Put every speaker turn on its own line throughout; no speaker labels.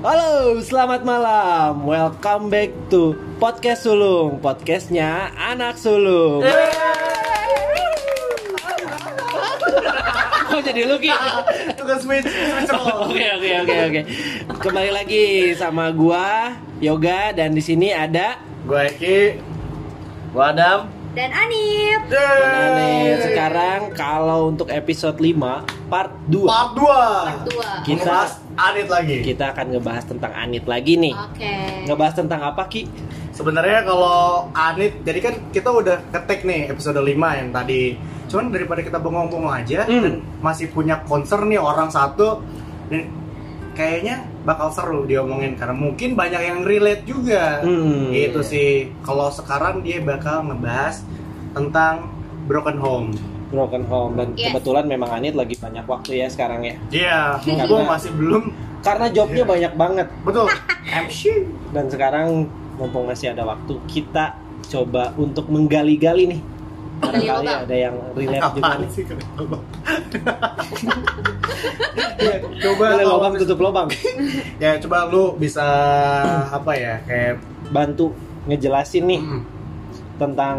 Halo, selamat malam. Welcome back to Podcast Sulung. Podcastnya Anak Sulung. Kok jadi lu, Ki?
Tukang switch, switch off.
Oke, oke, oke, oke. Kembali lagi sama gua Yoga dan di sini ada
Gue Eki, gue Adam.
dan Anip.
Nane. Sekarang kalau untuk episode 5 part 2
part 2.
Kedua.
Ki-
Kita bahas Adit lagi.
kita akan ngebahas tentang Anit lagi nih.
Oke.
Ngebahas tentang apa, Ki?
Sebenarnya kalau Anit, jadi kan kita udah ketek nih episode 5 yang tadi. Cuman daripada kita bengong-bengong aja
Hmm.
dan masih punya concern nih orang satu dan kayaknya bakal seru diomongin karena mungkin banyak yang relate juga.
Hmm.
Gitu sih. Kalau sekarang dia bakal ngebahas tentang broken home.
Broken Home dan
Yes.
kebetulan memang Anit lagi banyak waktu ya sekarang ya.
Iya,
Karena-
gue masih belum
Karena jobnya banyak banget
Betul. MC.
dan sekarang mumpung masih ada waktu kita coba untuk menggali-gali nih.
Gali
Barangkali
lubang.
ada yang relate juga
Apaan
nih.
sih kenapa? Bang? Ya, coba
Gali
kalau
lubang tutup lubang.
ya coba lu bisa apa ya kayak
Bantu ngejelasin
Hmm.
nih
Mm,
tentang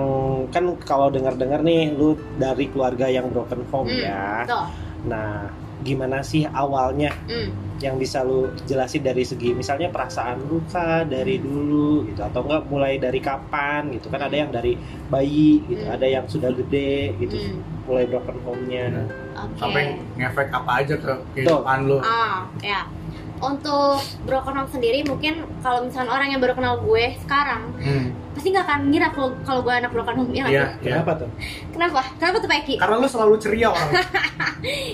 kan kalau dengar-dengar nih lu dari keluarga yang broken home
Hmm,
ya.
Betul.
Nah, gimana sih awalnya
Hmm.
yang bisa lu jelasin dari segi misalnya perasaan lu kah dari
Hmm.
dulu gitu atau enggak mulai dari kapan gitu kan ada yang dari bayi gitu
Hmm.
ada yang sudah gede gitu
Hmm.
mulai broken home-nya
Oke.
sampai ngefek apa aja ke kehidupan lu.
Ah, ya. Untuk broken home sendiri mungkin kalau misalnya orang yang baru kenal gue sekarang
Hmm.
pasti nggak akan ngira kalau kalau gue anak broken home ya nggak
Iya, Kan-
sih?
iya.
kenapa tuh
Kenapa? Kenapa tuh Peki?
Karena lu selalu ceria orang.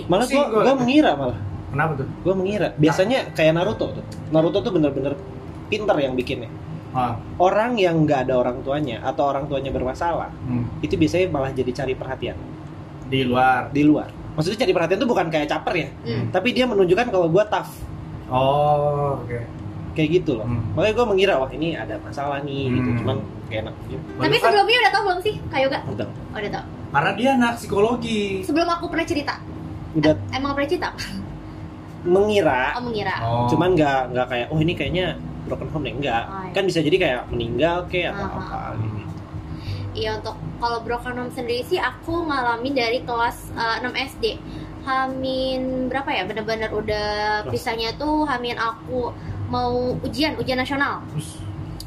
malah
Pusing
gua,
gua. Nah.
gua mengira malah
Kenapa tuh?
gua mengira biasanya kayak Naruto tuh Naruto tuh bener-bener pinter yang bikinnya
Ah,
orang yang nggak ada orang tuanya atau orang tuanya bermasalah
hmm.
itu biasanya malah jadi cari perhatian
Di luar.
di luar maksudnya cari perhatian tuh bukan kayak caper ya
Hmm.
tapi dia menunjukkan kalau gua tough
Oh, oke.
kayak gitu loh
Hmm.
makanya gue mengira wah ini ada masalah nih gitu
Hmm.
cuman kayak enak gitu
Tapi
Barusan,
sebelumnya udah tau belum sih Kak Yoga?
udah
Oh, udah tau.
kan, karena dia anak psikologi.
Sebelum aku pernah cerita.
udah
Emang pernah cerita?
mengira
Oh, mengira.
Oh.
Iya. cuman nggak nggak kayak oh ini kayaknya broken home deh enggak
Oh, iya.
kan bisa jadi kayak meninggal kayak atau
Ah,
apa gitu.
Iya untuk kalau broken home sendiri sih aku ngalamin dari kelas eh, 6 SD. Hamin berapa ya? Bener-bener udah
Kelas.
pisahnya tuh hamin aku mau ujian ujian nasional.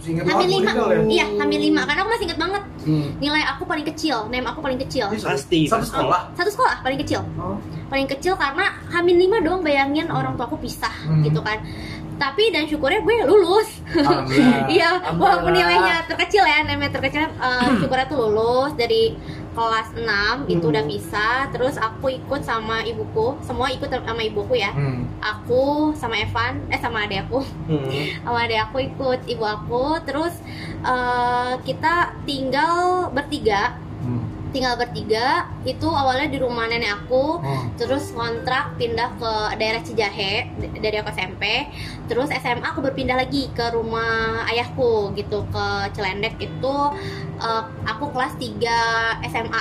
Singkat
Hamin
banget,
lima,
meninggal ya?
iya hamin lima. Karena aku masih inget banget
Hmm.
nilai aku paling kecil, name aku paling kecil.
Ini
Pasti,
Satu
pasti.
sekolah.
Satu sekolah paling kecil,
Oh.
paling kecil karena hamin lima doang bayangin orang tua aku pisah
Hmm.
gitu kan. Tapi dan syukurnya gue lulus.
Alhamdulillah.
Iya, walaupun
Alhamdulillah.
nilainya terkecil ya, nilainya terkecil eh, syukurnya tuh lulus dari kelas 6 itu
Hmm.
udah bisa. Terus aku ikut sama ibuku, semua ikut sama ibuku ya.
Hmm.
Aku sama Evan, eh sama adek aku,
Hmm.
sama adek aku ikut ibu aku. Terus eh, kita tinggal bertiga,
Hmm.
tinggal bertiga itu awalnya di rumah nenek aku
hmm.
terus kontrak pindah ke daerah Cijahe d- dari aku SMP terus SMA aku berpindah lagi ke rumah ayahku gitu ke Celendek itu eh, aku kelas 3 SMA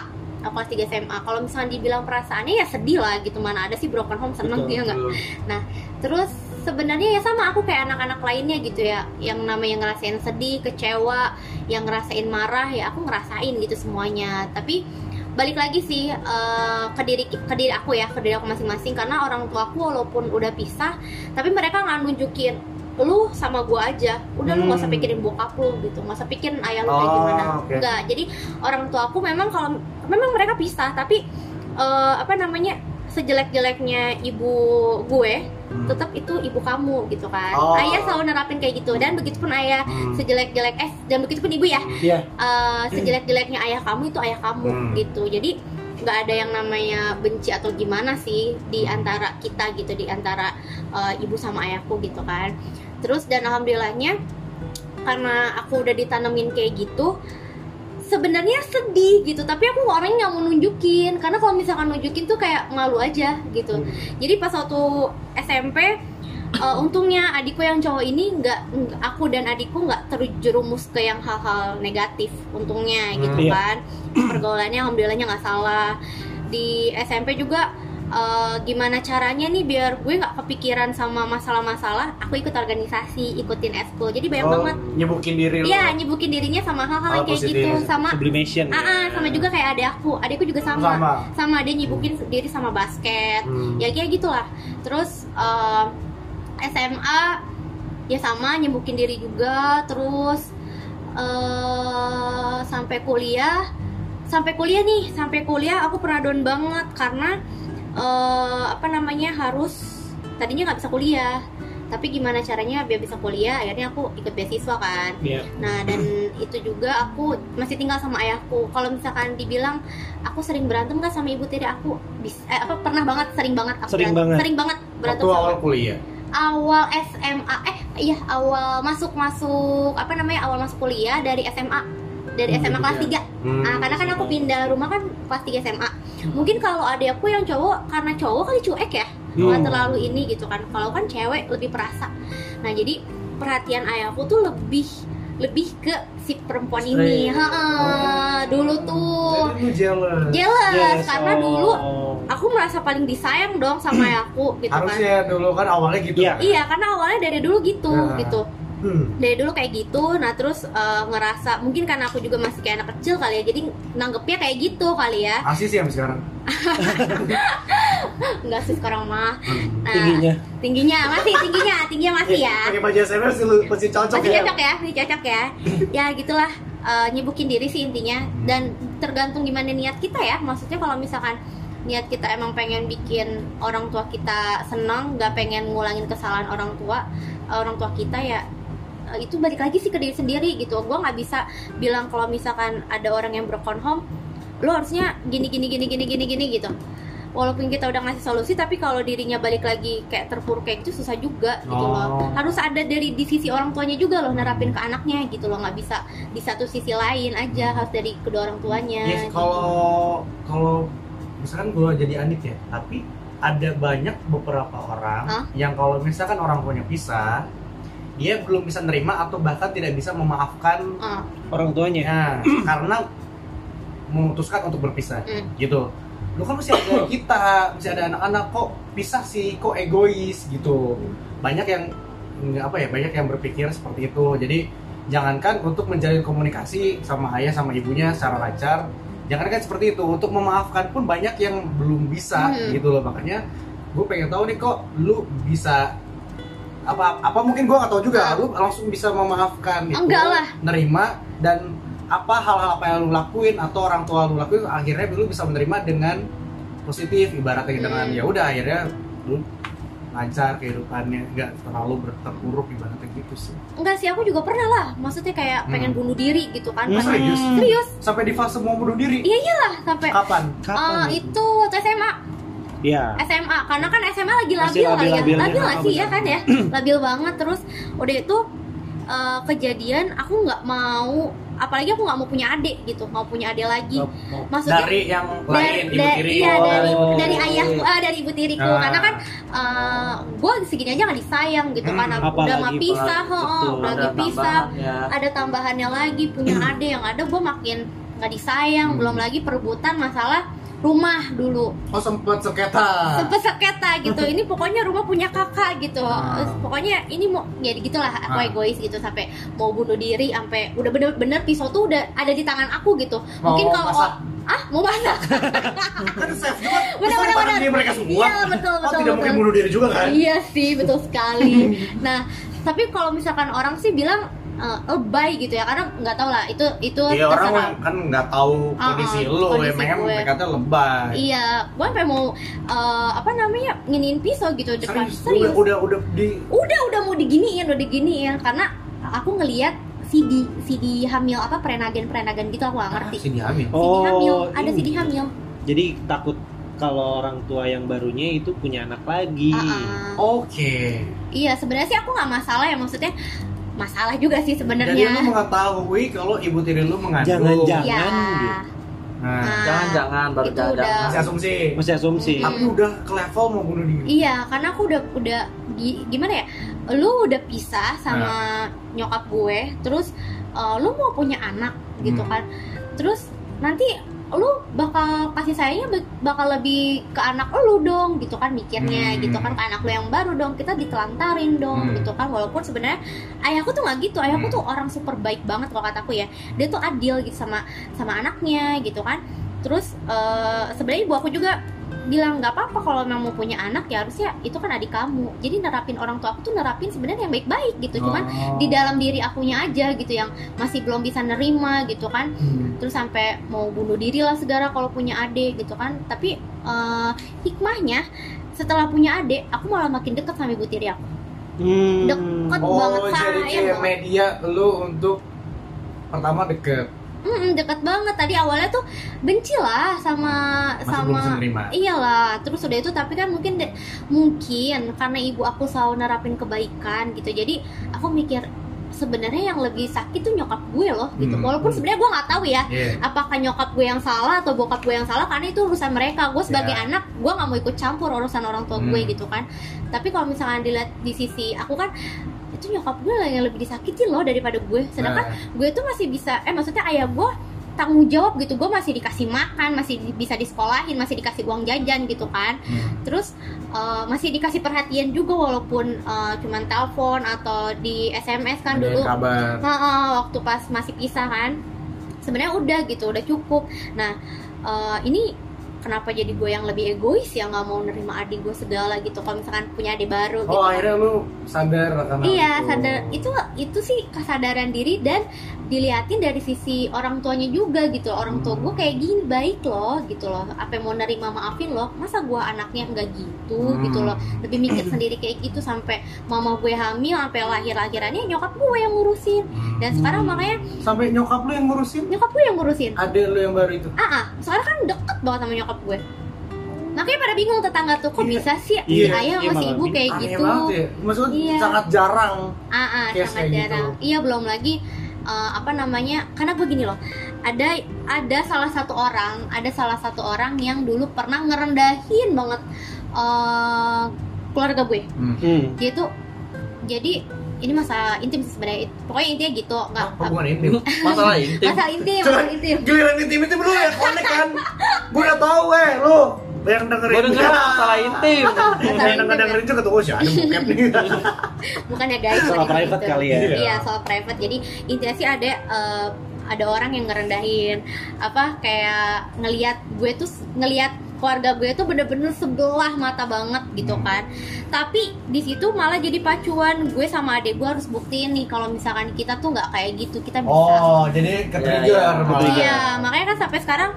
aku kelas 3 SMA kalau misalnya dibilang perasaannya ya sedih lah gitu mana ada sih broken home seneng
Betul.
ya enggak terus sebenarnya ya sama aku kayak anak-anak lainnya gitu ya yang namanya ngerasain sedih kecewa yang ngerasain marah ya aku ngerasain gitu semuanya tapi balik lagi sih eh, ke diri ke diri aku ya ke diri aku masing-masing karena orang tua aku walaupun udah pisah tapi mereka nggak nunjukin lu sama gua aja udah lu nggak usah
Hmm.
pikirin bokap lu gitu nggak usah pikirin ayah lu kayak
Oh,
gimana
oke.
enggak jadi orang tua aku memang kalau memang mereka pisah tapi eh, apa namanya sejelek-jeleknya ibu gue
Hmm.
tetap itu ibu kamu gitu kan
Oh.
ayah selalu nerapin kayak gitu dan begitupun ayah
Hmm.
sejelek-jelek eh dan begitupun ibu ya
Iya.
eh, sejelek-jeleknya ayah kamu itu ayah kamu
Hmm.
gitu jadi nggak ada yang namanya benci atau gimana sih di antara kita gitu di antara eh, ibu sama ayahku gitu kan terus dan alhamdulillahnya karena aku udah ditanemin kayak gitu sebenarnya sedih gitu tapi aku orangnya nggak mau nunjukin karena kalau misalkan nunjukin tuh kayak malu aja gitu jadi pas waktu SMP eh, untungnya adikku yang cowok ini nggak nggak- aku dan adikku nggak terjerumus ke yang hal-hal negatif untungnya gitu
Hmm, iya.
kan pergaulannya alhamdulillahnya nggak salah di SMP juga eh, gimana caranya nih biar gue nggak kepikiran sama masalah-masalah aku ikut organisasi ikutin ekskul jadi banyak banget
nyebukin diri lu.
Iya, nyibukin dirinya sama
Oh, iya.
hal-hal yang
Hal
kayak
positif.
gitu sama
sublimation ya.
ah, ah, sama juga kayak adek aku. Adekku juga sama.
Sama.
dia nyibukin diri sama basket.
Hmm.
Ya kayak gitulah. Terus eh, SMA ya sama nyibukin diri juga terus eh sampai kuliah sampai kuliah nih sampai kuliah aku pernah down banget karena eh, apa namanya harus tadinya nggak bisa kuliah tapi gimana caranya biar bisa kuliah akhirnya aku ikut beasiswa kan
Iya.
Nah, dan itu juga aku masih tinggal sama ayahku. Kalau misalkan dibilang aku sering berantem kan sama ibu tiri aku, bis- eh, apa pernah banget sering banget aku
Sering
berantem,
banget.
sering banget berantem
Waktu
sama-
awal kuliah.
awal SMA eh iya awal masuk masuk apa namanya awal masuk kuliah dari SMA dari
Hmm,
SMA kelas
iya.
3
Hmm.
Nah, karena kan aku pindah rumah kan kelas 3 SMA mungkin kalau ada aku yang cowok karena cowok kali cuek ya nggak
Hmm.
terlalu ini gitu kan kalau kan cewek lebih perasa nah jadi perhatian ayahku tuh lebih lebih ke si perempuan ini
Straight.
Heeh, dulu Iya, tuah.
Jadi lu jealous.
jealous
Yes,
karena
oh.
dulu aku merasa paling disayang dong sama ayahku gitu kan
Harusnya dulu kan awalnya gitu.
Iya.
kan?
iya karena awalnya dari dulu gitu
Nah.
gitu
Hmm.
dari dulu kayak gitu nah terus eh, ngerasa mungkin karena aku juga masih kayak anak kecil kali ya jadi nanggepnya kayak gitu kali ya
Asis ya sekarang.
enggak sih sekarang mah
Hmm. Iya,
tingginya
nah tingginya masih tingginya tingginya masih ya
Pakai baju SMS sih lu pasti cocok
masih
ya.
cocok ya masih cocok ya ya gitulah eh, nyibukin diri sih intinya dan tergantung gimana niat kita ya maksudnya kalau misalkan niat kita emang pengen bikin orang tua kita senang nggak pengen ngulangin kesalahan orang tua eh, orang tua kita ya eh, itu balik lagi sih ke diri sendiri gitu gue nggak bisa bilang kalau misalkan ada orang yang broken home lo harusnya gini gini gini gini gini gini gitu walaupun kita udah ngasih solusi tapi kalau dirinya balik lagi kayak terpuruk kayak gitu susah juga gitu loh
Oh.
harus ada dari di sisi orang tuanya juga loh nerapin ke anaknya gitu loh nggak bisa di satu sisi lain aja harus dari kedua orang tuanya
Yes,
gitu.
kalau kalau misalkan gue jadi Andit ya, tapi ada banyak beberapa orang
Hah?
yang kalau misalkan orang punya pisah, dia belum bisa nerima atau bahkan tidak bisa memaafkan
Ah,
orang tuanya
ya, karena memutuskan untuk berpisah
Mm.
gitu. Lu kan masih ada kita, masih ada anak-anak kok pisah sih, kok egois gitu. Banyak yang nggak apa ya, banyak yang berpikir seperti itu. Jadi jangankan untuk menjalin komunikasi sama ayah sama ibunya secara lancar jangankan seperti itu untuk memaafkan pun banyak yang belum bisa
Hmm.
gitu loh makanya gue pengen tahu nih kok lu bisa apa apa mungkin gue nggak tahu juga lu langsung bisa memaafkan itu
Enggak lah.
nerima dan apa hal-hal apa yang lu lakuin atau orang tua lu lakuin akhirnya lu bisa menerima dengan positif ibaratnya dengan
Hmm.
ya udah akhirnya lu lancar kehidupannya nggak terlalu ber- terpuruk ibaratnya gitu sih
enggak sih aku juga pernah lah maksudnya kayak
Hmm.
pengen bunuh diri gitu kan
Masa
Pengen-
serius?
serius
sampai di fase mau bunuh diri
iya iyalah sampai
kapan
ah,
kapan
itu waktu SMA
ya
SMA karena kan SMA lagi
Masih
labil kali ya
labil-labilnya, ah,
labil gak sih ya
benar.
kan ya labil banget terus udah itu eh, kejadian aku nggak mau apalagi aku nggak mau punya adik gitu mau punya adik lagi
Oh,
maksudnya
dari yang lain
dari
ibu
da-
tiri
iya,
oh,
dari
ibu tiri.
dari ayahku ah, dari ibu tiriku
Ah.
karena kan gue segini aja nggak disayang gitu
Hmm,
kan udah
apalagi
mah pisah
Pak.
heeh,
Betul,
udah lagi pisah
ya.
ada tambahannya lagi punya
Hmm.
adik yang ada gue makin nggak disayang belum lagi perebutan masalah rumah dulu
oh sempat seketa
sempet seketa gitu ini pokoknya rumah punya kakak gitu Terus pokoknya ini mau ya gitulah aku
Ah.
egois gitu sampai mau bunuh diri sampai udah bener-bener pisau tuh udah ada di tangan aku gitu mungkin
Mau
kalau
masak.
ah mau masak
kan safe juga
Benar,
Bisa
benar,
dipandang
benar.
dia mereka semua
Iya, betul,
Oh,
betul,
tidak mungkin
betul.
bunuh diri juga kan
iya sih betul sekali nah tapi kalau misalkan orang sih bilang eh, lebay gitu ya karena nggak tau lah itu itu
Iya orang
terserah.
kan nggak tahu
Ah,
kondisi
ah,
lu,
kondisi
emang
gue.
mereka tuh lebay.
iya gue sampai mau eh, apa namanya nginin pisau gitu depan
Serius, udah, udah udah di
udah udah mau diginiin udah diginiin karena aku ngelihat CD CD hamil apa prenagen prenagen gitu aku gak
Ah,
ngerti
iya. sih diambil.
CD hamil
oh
ada
ini.
CD hamil
jadi takut kalau orang tua yang barunya itu punya anak lagi
Ah, ah.
Oke.
iya sebenarnya sih aku nggak masalah ya maksudnya masalah juga sih
Jadi lu
sebenarnya
mengetahui kalau ibu tiri lu mengandung.
Jangan-jangan.
iya
Jangan
Nah,
Nah,
Jangan-jangan baru
itu
jangan.
udah.
masih asumsi.
masih asumsi
Mm.
Tapi udah ke level mau bunuh diri.
iya karena aku udah udah gi- gimana ya lu udah pisah sama nyokap gue terus eh, lu mau punya anak gitu
Hmm.
kan terus nanti lu bakal kasih sayangnya bak- bakal lebih ke anak lu dong gitu kan mikirnya
Hmm.
gitu kan ke anak lu yang baru dong kita ditelantarin
Hmm.
dong gitu kan walaupun sebenarnya ayahku tuh nggak gitu ayahku
Hmm.
tuh orang super baik banget kalau kataku ya dia tuh adil gitu sama sama anaknya gitu kan terus eh, sebenarnya ibu aku juga bilang nggak apa-apa kalau memang mau punya anak ya harusnya itu kan adik kamu jadi nerapin orang tua aku tuh nerapin sebenarnya yang baik-baik gitu cuman
Oh.
di dalam diri akunya aja gitu yang masih belum bisa nerima gitu kan
Hmm.
terus sampai mau bunuh diri lah segala kalau punya adik gitu kan tapi eh, hikmahnya setelah punya adik aku malah makin deket sama ibu tiri aku
Hmm.
Deket. banget,
Oh, jadi
sayang
kayak
banget.
media lu untuk pertama deket,
Mm-mm, deket banget tadi awalnya tuh benci lah sama
masih belum
sama Iya.
bisa nerima.
Iyalah, terus udah itu tapi kan mungkin de- mungkin karena ibu aku selalu nerapin kebaikan gitu. Jadi aku mikir sebenarnya yang lebih sakit tuh nyokap gue loh gitu.
Hmm.
Walaupun
Hmm.
sebenarnya gue nggak tahu ya
Iya.
apakah nyokap gue yang salah atau bokap gue yang salah karena itu urusan mereka. Gue sebagai
Ya.
anak gue nggak mau ikut campur urusan orang tua gue
Hmm.
gitu kan. Tapi kalau misalkan dilihat di sisi aku kan itu nyokap gue lah yang lebih disakitin loh daripada gue. Sedangkan
Nah,
gue tuh masih bisa eh maksudnya ayah gue tanggung jawab gitu gue masih dikasih makan masih di- bisa disekolahin masih dikasih uang jajan gitu kan
hmm.
terus eh, masih dikasih perhatian juga walaupun eh, cuman telepon atau di sms
Ada
kan dulu
kabar.
Heeh, waktu pas masih pisah kan sebenarnya udah gitu udah cukup nah eh, ini kenapa jadi gue yang lebih egois ya nggak mau nerima adik gue segala gitu kalau misalkan punya adik baru gitu
Oh akhirnya gitu. lu sadar lah karena
Iya,
itu.
sadar itu itu sih kesadaran diri dan diliatin dari sisi orang tuanya juga gitu. Orang tua
Hmm.
gue kayak gini baik loh gitu loh. Apa yang mau nerima maafin loh. Masa gue anaknya enggak gitu
Hmm.
gitu loh. Lebih mikir sendiri kayak gitu sampai mama gue hamil sampai lahir-lahirannya nyokap gue yang ngurusin. Dan sekarang
Hmm.
makanya
Sampai nyokap lu yang ngurusin,
nyokap gue yang ngurusin.
ada lu yang baru itu.
Ah, ah, sekarang kan deket banget sama nyokap gue. Makanya pada bingung tetangga tuh kok
Iya.
bisa sih si
Iya,
ayah
iya,
sama si
malah
ibu
bingung.
kayak
Aneh
gitu.
banget ya. Maksudnya
Iya.
sangat jarang.
Ah, ah,
Case
sangat
kayak gitu.
jarang. Iya belum lagi eh, apa namanya? Karena gue gini loh, ada ada salah satu orang, ada salah satu orang yang dulu pernah ngerendahin banget eh, keluarga gue.
Hmm.
Dia tuh jadi ini masalah intim sih sebenarnya. Pokoknya intinya gitu, nggak
Hubungan intim.
masalah intim
masalah intim,
Cuman-
masalah intim.
Giliran intim itu lu yang connect kan. Gue udah tahu eh lu yang dengerin.
gue denger masalah intim
Masalah
Yang
intim ya.
dengerin juga tuh oh si ada bokep nih.
Bukan ya guys,
Soal
bukan
private
gitu.
kali ya.
Iya.
Iya, soal private. Jadi intinya sih ada eh, ada orang yang ngerendahin apa kayak ngelihat gue tuh ngelihat keluarga gue tuh bener-bener sebelah mata banget gitu
Hmm.
kan. Tapi di situ malah jadi pacuan gue sama adik gue harus buktiin nih kalau misalkan kita tuh nggak kayak gitu kita bisa.
Oh, gitu ya. jadi
Iya, iya.
ketrigger malah.
Iya, makanya kan sampai sekarang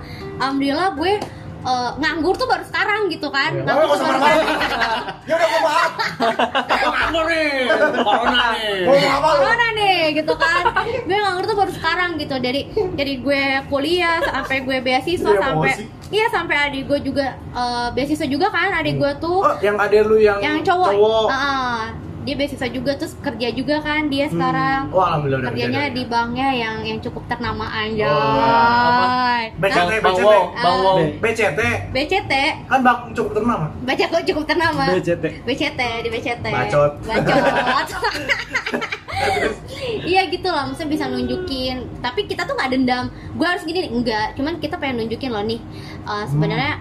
alhamdulillah gue eh, nganggur tuh baru sekarang gitu kan.
Iya.
Nganggur
Oh,
tuh
nggak usah
baru-
Ya udah gua maaf.
nganggur nih
Iya.
corona nih
Oh,
Gua mau apa lu?
corona nih gitu kan gue nganggur tuh baru sekarang gitu dari dari gue kuliah sampai gue beasiswa
Iya,
sampai
emosi.
iya sampai adik gue juga eh, beasiswa juga kan adik gue tuh
Oh, yang ada lu yang
yang cowok, Heeh. dia beasiswa juga terus kerja juga kan dia
Hmm.
sekarang
Wah, alhamdulillah udah
kerjanya
kejadian.
di banknya yang yang cukup ternama anjay
Oh, apa?
Nah,
bang
BCT,
bang
BCT.
wow bang wow
BCT
BCT
kan bang cukup ternama.
baca gue cukup ternama
BCT.
BCT ya, di BCT
Bacot.
bacot iya gitu lah maksudnya bisa nunjukin tapi kita tuh nggak dendam gue harus gini nih. enggak cuman kita pengen nunjukin loh nih eh, sebenarnya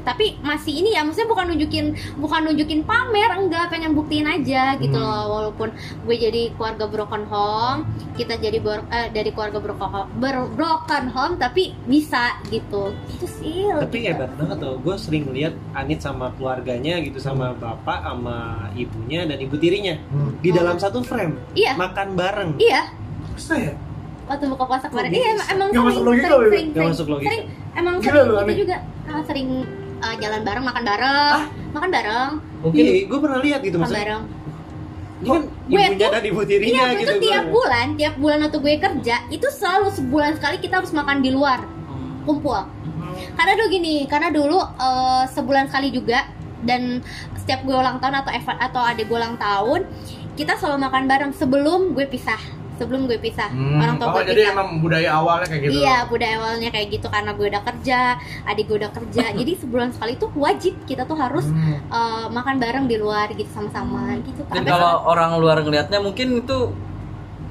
Hmm.
tapi masih ini ya maksudnya bukan nunjukin bukan nunjukin pamer enggak pengen buktiin aja gitu
Hmm.
loh walaupun gue jadi keluarga broken home kita jadi bor- eh, dari keluarga broken home, ber- broken home tapi bisa gitu itu sih
Tapi hebat banget loh. Gue sering lihat Anit sama keluarganya gitu sama bapak, sama ibunya dan ibu tirinya
Hmm.
di dalam satu frame
Oh. iya
makan bareng.
iya
Bisa ya?
waktu buka puasa kemarin
Kok
iya
bisa?
em-
Nggak
emang sering
masuk logika
sering,
loh itu.
sering,
Gak
sering.
masuk
Sering.
logika.
emang
Gila
sering
loh,
itu
aneh. Ah.
juga ah, sering ah, jalan bareng makan bareng makan bareng
Mungkin gue pernah lihat gitu
makan
maksudnya.
bareng
Ini kan
Gue
ibunya
tuh-
dan ibu
iya
tirinya
gue
gitu.
tuh tiap
gua.
bulan tiap bulan waktu gue kerja itu selalu sebulan sekali kita harus makan di luar kumpul
Iya.
karena dulu gini karena dulu eh, sebulan sekali juga dan setiap gue ulang tahun atau Evan atau adik gue ulang tahun kita selalu makan bareng sebelum gue pisah sebelum gue pisah orang tua
oh,
gue
jadi
pisah
emang budaya awalnya kayak gitu.
Iya, budaya awalnya kayak gitu karena gue udah kerja, adik gue udah kerja. Jadi sebulan sekali tuh wajib kita tuh harus
Hmm.
eh, makan bareng di luar gitu sama-sama gitu.
dan
Sampai
kalau orang luar ngelihatnya mungkin itu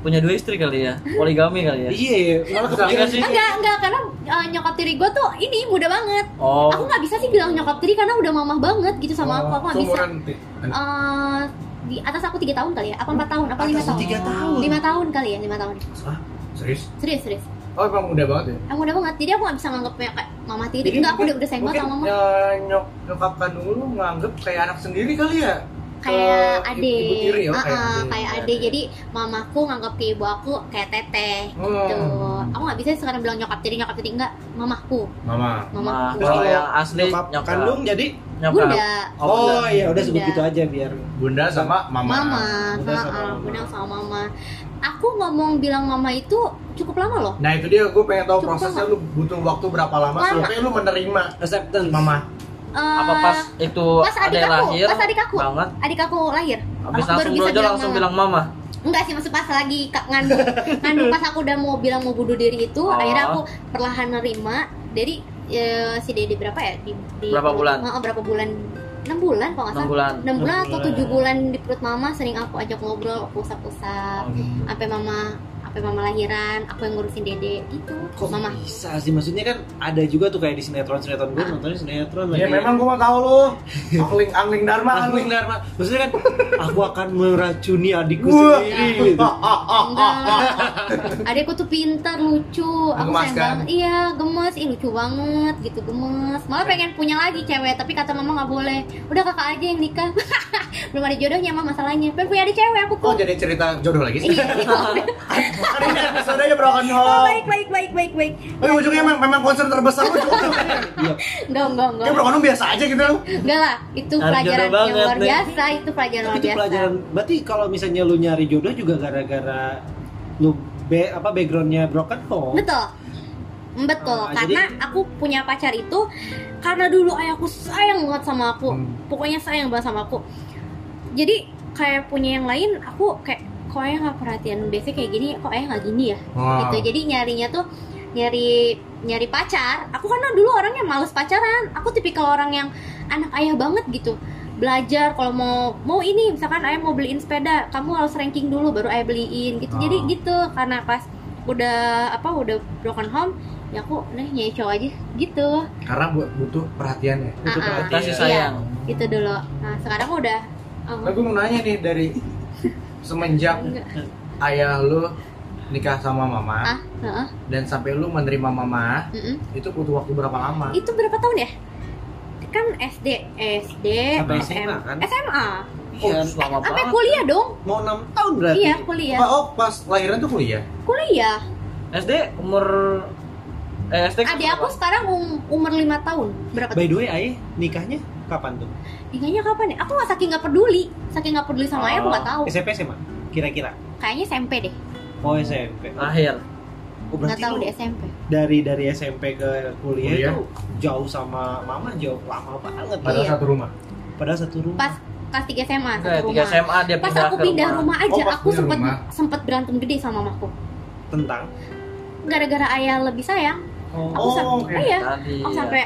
punya dua istri kali ya poligami kali ya
Iya,
Malah
Iya
kepikiran
nggak sih
Enggak, enggak, karena uh, nyokap tiri gue tuh ini muda banget
oh
Aku nggak bisa sih bilang nyokap tiri karena udah mamah banget gitu sama aku Aku nggak bisa
Oh, Seumuran ti-
Eh, Di atas aku 3 tahun kali ya, apa 4 tahun, apa 5
Atas
tahun
tiga
5
tahun.
tahun kali ya, 5 tahun
Hah? Serius?
Serius, serius
Oh emang muda banget ya?
Aku muda banget, jadi aku nggak bisa nganggepnya kayak mama tiri
Jadi
Enggak, aku
mungkin-
udah, udah sayang banget
mungkin,
sama mama
eh, nyok nyokap kandung lu nganggep kayak anak sendiri kali ya?
kayak
Ke
ade,
ibu tiri ya,
Ah,
kayak
ah,
ade.
kayak ade. Jadi mamaku nganggap ke ibu aku kayak teteh
Hmm.
gitu. Aku nggak bisa sekarang bilang nyokap tiri nyokap tiri enggak, mamaku,
Mama.
Nah,
mamaku.
kalau yang asli
Iya. nyokap
nyokap
kandung jadi
nyokap
Bunda,
Oh, iya udah sebut
Udah.
gitu aja biar
Bunda sama mama.
mama,
Bunda
ah,
sama
ah,
mama.
bunda sama mama. Aku ngomong bilang mama itu cukup lama loh.
Nah itu dia gue pengen tahu
Cukup
prosesnya lu butuh waktu berapa lama
Lama.
sampai lu menerima
acceptance.
mama.
Eh,
apa pas itu
pas adik
ada
aku,
lahir
pas adik aku.
banget
adik aku lahir?
habis
Aku baru
langsung
bisa
brojol
bilang
langsung
mama.
bilang mama
Enggak sih, masih pas lagi ka- ngandung. ngandung pas aku udah mau bilang mau bunuh diri itu,
Oh.
akhirnya aku perlahan nerima. Jadi eh, si Dede berapa ya? Di, di-
Berapa bulan?
Heeh, berapa bulan? 6 bulan kalau nggak
enam
salah.
bulan
6 bulan
Enam
atau
bulan.
7 bulan di perut mama sering aku ajak ngobrol, aku
Oh.
usap-usap. Sampai mama sampai mama lahiran, aku yang ngurusin Dede gitu.
Kok
mama. Ah.
bisa sih maksudnya kan ada juga tuh kayak di sinetron sinetron gue nontonnya sinetron
Ya memang gue mau tahu lu. Angling angling Dharma
Aku
angling.
nggak maksudnya kan aku akan meracuni adikku
Wah.
sendiri gitu.
Ah, ah, ah, ah, ah.
Enggak. Adekku tuh pintar, lucu. Aku
Gemas,
sayang
kan?
banget. Iya, gemes. Ih, lucu banget gitu, gemes. Malah pengen punya lagi cewek, tapi kata mama nggak boleh. Udah kakak aja yang nikah. Belum ada jodohnya mama masalahnya. Pengen punya adik cewek aku
Kok
tuh.
Oh, jadi cerita jodoh lagi sih?
Iya, itu.
Hari ini episodenya Broken
Oh,
Home.
baik, baik, baik, baik, baik.
Eh ujungnya memang, memang konser terbesar lu juga.
Enggak, enggak, enggak.
Kayak Broken Home biasa aja gitu lu.
Enggak lah, itu
Harus
pelajaran
jodoh
yang
banget,
luar
nih.
biasa, itu pelajaran
Tapi
luar
itu
biasa.
pelajaran. Berarti kalau misalnya lu nyari jodoh juga gara-gara lu be, apa backgroundnya broken home.
Betul. Betul,
Ah,
karena
jadi-
aku punya pacar itu karena dulu ayahku sayang banget sama aku.
Hmm.
Pokoknya sayang banget sama aku. Jadi kayak punya yang lain, aku kayak kok ayah nggak perhatian biasanya kayak gini, kok ayah nggak gini ya? Gitu. Jadi nyarinya tuh nyari nyari pacar. Aku karena dulu orangnya males pacaran. Aku tipikal orang yang anak ayah banget gitu. Belajar kalau mau mau ini misalkan ayah mau beliin sepeda, kamu harus ranking dulu baru ayah beliin gitu.
Oh.
Jadi
Ah.
gitu karena pas udah apa udah broken home ya aku nih nyari cowok aja gitu
Karena bu- butuh ya. perhatiannya.
Butuh
Ah, ah.
perhatian.
kasih sayang
gitu dulu nah sekarang udah um,
Nah, gue mau nanya nih dari
ya.
semenjak
enggak.
ayah lu nikah sama mama
ah heeh,
dan sampai lu menerima mama
mm-mm.
itu butuh waktu berapa lama?
itu berapa tahun ya kan SD SD
Sampai
SM,
SMA kan?
SMA
Iya.
selama
sampai
banget
kuliah dong
Mau 6 tahun berarti.
iya kuliah
Pak, oh pas lahiran tuh kuliah.
kuliah
SD umur eh SD
Adik aku sekarang um- umur 5 tahun. Berapa
By
tuh?
the way, Aye, nikahnya kapan tuh?
Nikahnya kapan ya? Aku nggak saking nggak peduli. Saking nggak peduli sama ayah aku
Ah.
nggak tahu.
SMP SMA kira-kira.
Kayaknya SMP deh.
Oh SMP.
akhir
Oh, berarti
Nggak tahu
lu
deh SMP.
dari dari SMP ke kuliah
Kuliah.
itu jauh sama mama jauh lama banget
Padahal
Iya.
satu rumah.
padahal satu rumah
Pas kelas 3 SMA satu
Enggak, tiga
rumah.
SMA dia
Pas
pindah
aku
ke
pindah rumah, aja,
Oh, pas
aku
pindah
sempet
rumah.
sempet berantem gede sama mamaku.
tentang
Gara-gara ayah lebih sayang, aku
Oh,
eh.
sampai
oke.
iya.
Tadi.
Aku sampai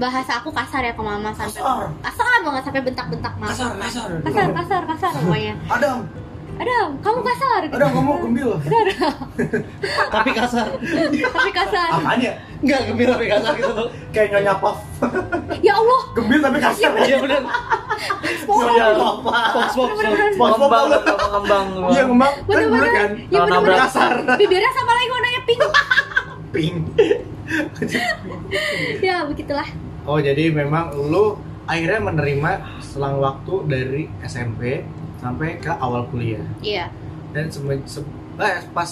bahasa aku kasar ya ke mama sampai
Kasar.
kasar banget sampai bentak-bentak mama.
Kasar, kasar.
kasar, kasar, kasar pokoknya.
Adam,
Adam, kamu kasar. gitu.
Adam kamu gembil.
tapi kasar
Tapi kasar.
Apanya?
nggak gembira tapi kasar gitu loh
Kayak nyonya Puff.
Ya Allah,
Gembil tapi kasar. iya,
iya benar
Nyonya Puff.
box box box
bener-bener.
Spongebob
ngembang
banget.
ngembang
Iya
ngembang
ngembang. Kan
Bener-bener.
bulat kan?
Ya,
Kalau
bener-bener.
nabrak.
Kasar.
bibirnya sama lagi warnanya pink
Pink.
ya begitulah
Oh jadi memang lu akhirnya menerima selang waktu dari SMP sampai ke awal kuliah
iya
dan semen, se- eh, pas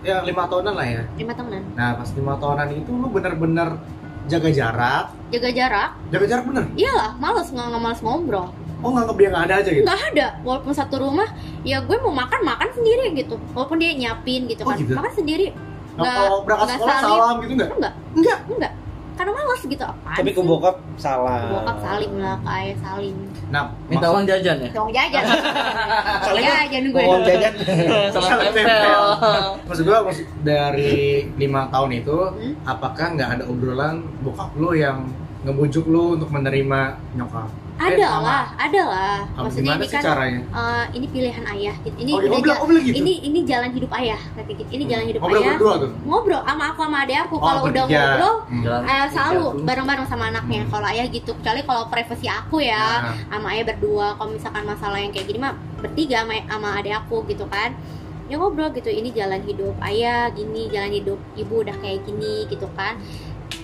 ya lima tahunan lah ya.
lima tahunan
Nah pas lima tahunan itu lu bener-bener jaga jarak,
jaga jarak
jaga jarak bener.
iyalah males nggak nggak males ngobrol
Oh nganggep dia nggak ada aja gitu.
nggak ada walaupun satu rumah ya gue mau makan makan sendiri gitu walaupun dia nyiapin gitu
Oh,
kan
gitu?
makan sendiri
Nah,
nggak-
kalau berangkat
nggak
sekolah
saling.
salam gitu nggak?
enggak
Enggak.
enggak karena males gitu apaan
tapi ke
sih?
bokap
Ke
salah
bokap salim lah ke ayah salim
Nah
minta uang jajan ya
dong jajan dong jajan gue
uang jajan
salah
Salah
tempel
tempel. maksud gua maksud- dari lima tahun itu
Hmm?
apakah nggak ada obrolan bokap lu yang ngebujuk lu untuk menerima nyokap?
ada
sama.
lah ada lah
Apa gimana
maksudnya ini
sih
kan
caranya?
eh, ini pilihan ayah gitu
oh,
ini
iya,
udah
oh, bilang,
ja-
oh, bilang gitu.
ini ini jalan hidup ayah kata gitu ini jalan hidup
Oh, bilang
ayah
berdua tuh. Oh,
ngobrol sama aku sama adek aku kalau udah
bertiga.
ngobrol
Hmm.
Jalan.
eh, selalu
Iya,
bareng-bareng sama anaknya
Hmm.
kalau ayah gitu kecuali kalau privasi aku ya
Nah,
sama ayah berdua kalau misalkan masalah yang kayak gini mah bertiga sama, sama adik aku gitu kan ya ngobrol gitu ini jalan hidup ayah gini jalan hidup ibu udah kayak gini gitu kan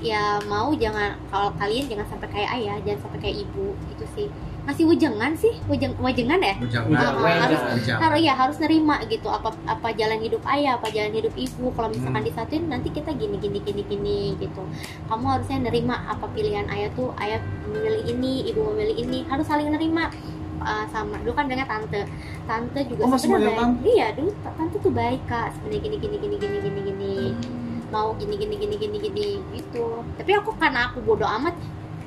ya mau jangan kalau kalian jangan sampai kayak ayah jangan sampai kayak ibu gitu sih masih wujengan sih wujeng wejengan ya
bujangan.
Apa, harus-
Bujang.
harus ya harus nerima gitu apa apa jalan hidup ayah apa jalan hidup ibu
Hmm.
kalau misalkan disatuin nanti kita gini gini gini gini gitu kamu harusnya nerima apa pilihan ayah tuh ayah memilih ini ibu memilih ini harus saling nerima Uh, sama dulu kan dengan tante tante juga
Oh, masih
sebenarnya
manggil
baik iya dulu ta- tante tuh baik kak sebenarnya gini gini gini gini gini gini
Hmm.
mau gini gini gini gini gini gitu tapi aku karena aku bodoh amat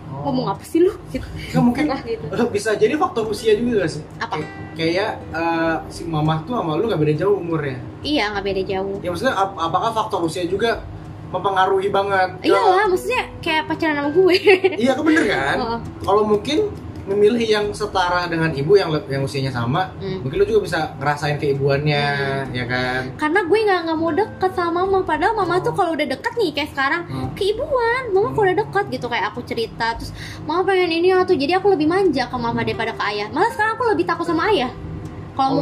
Oh.
ngomong apa sih lu gitu
Nggak, mungkin
lah gitu
Eh, bisa jadi faktor usia juga gak sih?
Apa?
Kay- Kayak eh, si mamah tuh sama lu gak beda jauh umurnya.
iya nggak beda jauh
Ya maksudnya ap- apakah faktor usia juga mempengaruhi banget? Ya,
iyalah Oh, maksudnya kayak pacaran sama gue
Iya kan bener kan?
Heeh.
Kalau mungkin memilih yang setara dengan ibu yang le- yang usianya sama,
Hmm.
mungkin lu juga bisa ngerasain keibuannya, ya kan?
karena gue nggak nggak mau deket sama mama padahal mama tuh kalau udah deket nih kayak sekarang
Hmm.
keibuan mama kalau udah deket gitu kayak aku cerita terus mama pengen ini atau jadi aku lebih manja ke mama daripada ke ayah malah sekarang aku lebih takut sama ayah kalau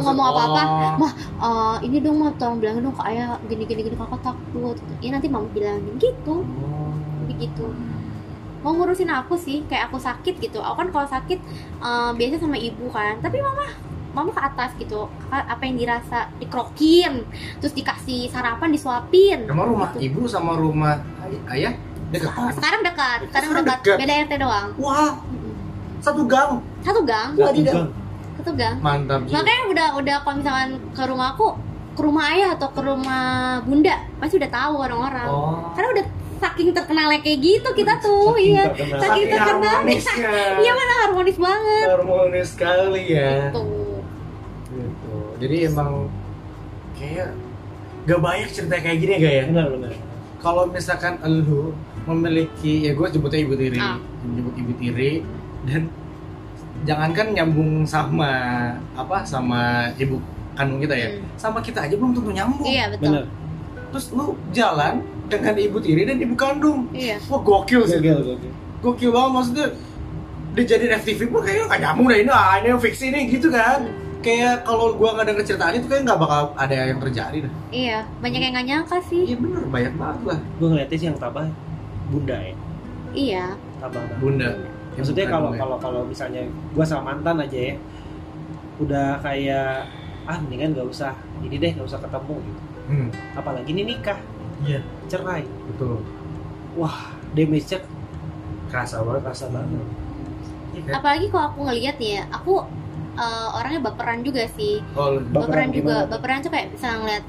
Oh,
mau ngomong
oh.
apa-apa mah eh, ini dong mah tolong bilangin dong ke ayah gini gini gini kakak takut ya nanti mama bilangin gitu begitu mau ngurusin aku sih kayak aku sakit gitu aku kan kalau sakit eh, biasanya sama ibu kan tapi mama mama ke atas gitu Kakak apa yang dirasa dikrokin terus dikasih sarapan disuapin Gitu.
Emang rumah ibu sama rumah ay- ayah dekat.
sekarang dekat sekarang
Sekarang
dekat
dekat.
beda RT doang
Wah, satu gang.
satu gang
Wah,
Satu
tidak.
gang.
satu gang
Mantap sih.
makanya udah udah kalau misalkan ke rumah aku ke rumah ayah atau ke rumah bunda pasti udah tahu orang-orang
Oh. Hmm,
karena udah saking terkenalnya kayak gitu kita tuh
Saking
iya
terkenal.
Saking terkenal.
harmonisnya.
iya mana harmonis banget
harmonis sekali ya.
tuh
Gitu. Jadi emang kayak gak banyak cerita kayak gini gak ya?
benar benar
Kalau misalkan lu memiliki ya gue sebutnya ibu tiri,
Ah.
menyebut ibu tiri dan jangankan nyambung sama apa sama ibu kandung kita ya,
Hmm.
sama kita aja belum tentu nyambung.
iya betul
benar
Terus lu jalan dengan ibu tiri dan ibu kandung.
iya
Wah gokil sih.
gokil gokil
gokil banget maksudnya dia jadi FTV pun kayaknya gak nyambung deh ini ah ini fiksi nih gitu kan kayak kalau gua nggak denger ceritanya tuh kayak nggak bakal ada yang terjadi dah
iya banyak yang nggak nyangka sih
iya bener banyak banget lah
gue ngeliatnya sih yang tabah bunda ya
iya
tabah banget.
bunda
maksudnya kalau
ya?
kalau kalau misalnya gua sama mantan aja ya udah kayak ah mendingan gak usah ini deh gak usah ketemu gitu
hmm,
apalagi ini nikah
Iya.
cerai
betul
damage-nya
kerasa banget
kerasa banget
Iya kan?
apalagi kalau aku ngelihat nih ya aku eh, orangnya baperan juga sih
oh, lu-
Baperan
baperan, juga
gimana tuh?
baperan tuh kayak bisa ngeliat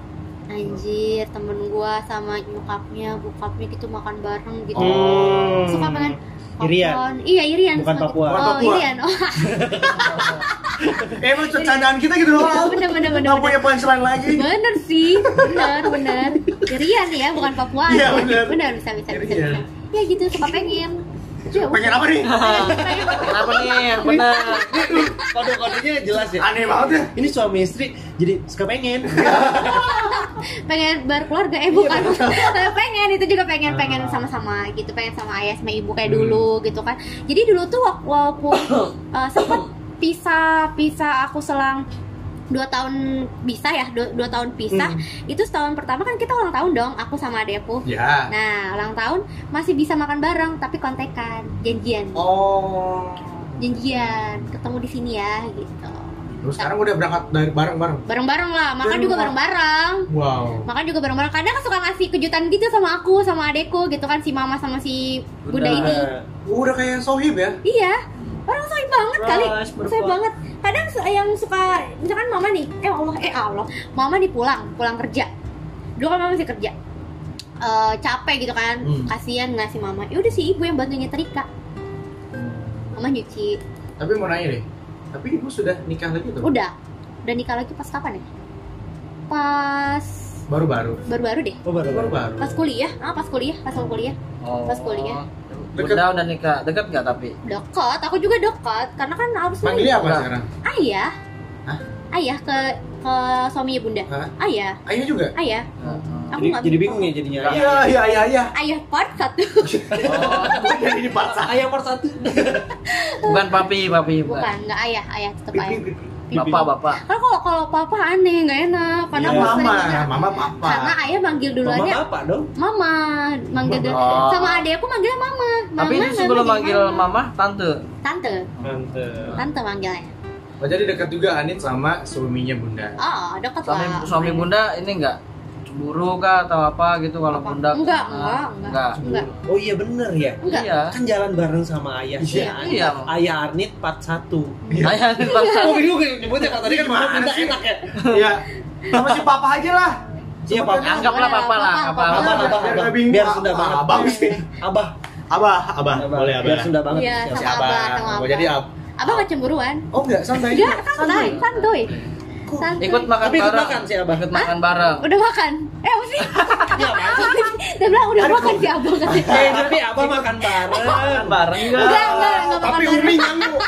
anjir temen gua sama nyokapnya bokapnya gitu makan bareng gitu
Oh.
suka pengen
Irian.
popcorn. iya irian
Bukan
suka gitu.
Papua.
oh
Bukan Papua.
irian oh
eh, emang candaan kita gitu
iya,
doang
bener bener bener Iya,
nggak punya punchline lagi
bener sih bener bener irian ya bukan papua
Iya, bener.
bener bisa bisa bisa
Irian.
bisa ya gitu suka pengen Ya,
pengen apa nih
Kenapa nih yang benar?
kode-kodenya jelas ya
aneh banget ya
ini suami istri jadi suka pengen
pengen berkeluarga eh bukan
Iya,
Tapi pengen itu juga
Ah.
pengen pengen sama-sama gitu pengen sama ayah sama ibu
Hmm.
kayak dulu gitu kan jadi dulu tuh wak- walaupun eh, sempet pisah pisah aku selang dua tahun bisa ya dua, dua tahun pisah
Hmm.
itu setahun pertama kan kita ulang tahun dong aku sama adekku
ya
nah ulang tahun masih bisa makan bareng tapi kontekan janjian
oh
janjian ketemu di sini ya gitu
terus sekarang udah berangkat dari bareng bareng
bareng-bareng lah makan
Dari
juga
rumah.
bareng-bareng
wow
Makan juga bareng-bareng. Kadang kan suka ngasih kejutan gitu sama aku, sama adekku gitu kan si mama sama si bunda ini.
udah kayak sohib ya
Iya. Orang soy banget kali.
Ras,
Soy
berpok.
banget. Kadang su- yang suka misalkan mama nih, eh Allah, eh Allah. Mama nih pulang, pulang kerja. Dulu kan mama masih kerja. Eh, capek gitu kan.
Hmm.
Kasihan nggak si mama. Ya udah si ibu yang bantu nyetrika. Mama nyuci.
tapi mau nanya deh tapi ibu sudah nikah lagi tuh
Udah. Udah nikah lagi pas kapan ya? Pas
baru-baru
baru-baru deh.
oh baru baru
baru-baru
Pas kuliah. Ah, pas kuliah, pas kuliah. Pas kuliah.
Oh. Bunda udah nikah, dekat nggak tapi?
Dekat, aku juga dekat karena kan harus
Panggilnya apa
Enggak.
sekarang?
ayah.
Hah?
Ayah ke ke suaminya Bunda.
Hah?
Ayah,
Ayo juga?
ayah. Aku
jadi,
nggak
jadi bingung ya jadinya
Nggak.
Iya, iya, iya, iya.
Ayah part satu
Oh,
Jadi dipaksa.
ayah part satu
bukan papi, papi
bukan, nggak ayah, ayah tetap ayah.
Bapak, bapak.
Karena kalau kalau papa aneh, nggak enak karena
Iya.
aku
Mama,
sering-
mama, papa.
Karena ayah manggil
mama
duluannya
apa dong
mama, manggil
Mama.
dulu.
Oh.
Sama adek aku manggilnya mama. mama
Tapi itu
nggak
sebelum manggil
mama.
mama, tante.
Tante,
mantep
tante manggilnya.
Oh, jadi dekat juga Anit sama suaminya Bunda.
Oh, dekat
Suami,
lah.
suami bunda ini enggak cemburu kah atau apa gitu kalau
Apa?
bunda?
Enggak, enggak,
Ah,
enggak. Enggak.
oh iya bener ya
Enggak.
Iya.
kan jalan bareng sama ayah
Iya, iya.
ayah Arnit part 1
Ayah ini bangsa.
Oh bingung ya, nyebutnya kan tadi kan
Gimana
Bunda
sih?
enak ya
Iya. Sama si papa aja lah.
Iya, Papa.
Sebutnya.
Anggaplah
Papa,
papa lah,
papa,
papa.
Abah,
lah.
abah,
Biar
abah.
nggak bingung.
Biar sudah banget.
Abang sih.
Abah,
Abah, abah. Ah, Boleh abah.
Biar sudah banget.
Iya,
Siap.
Si
Sama abah, sama
abah. Oh,
abah.
jadi ab.
Abang gak cemburuan?
Oh, enggak, santai.
Enggak, santai, santuy. Santuy.
Ikut makan
Tapi ikut
bareng.
makan sih, Abah.
Ikut makan bareng.
Udah makan? Eh, apa sih? Dia bilang udah makan si abang katanya.
Eh, tapi abah makan bareng.
Makan bareng
Enggak,
enggak?
enggak, enggak makan
Tapi
bareng.
Umi Oh, nyangkut.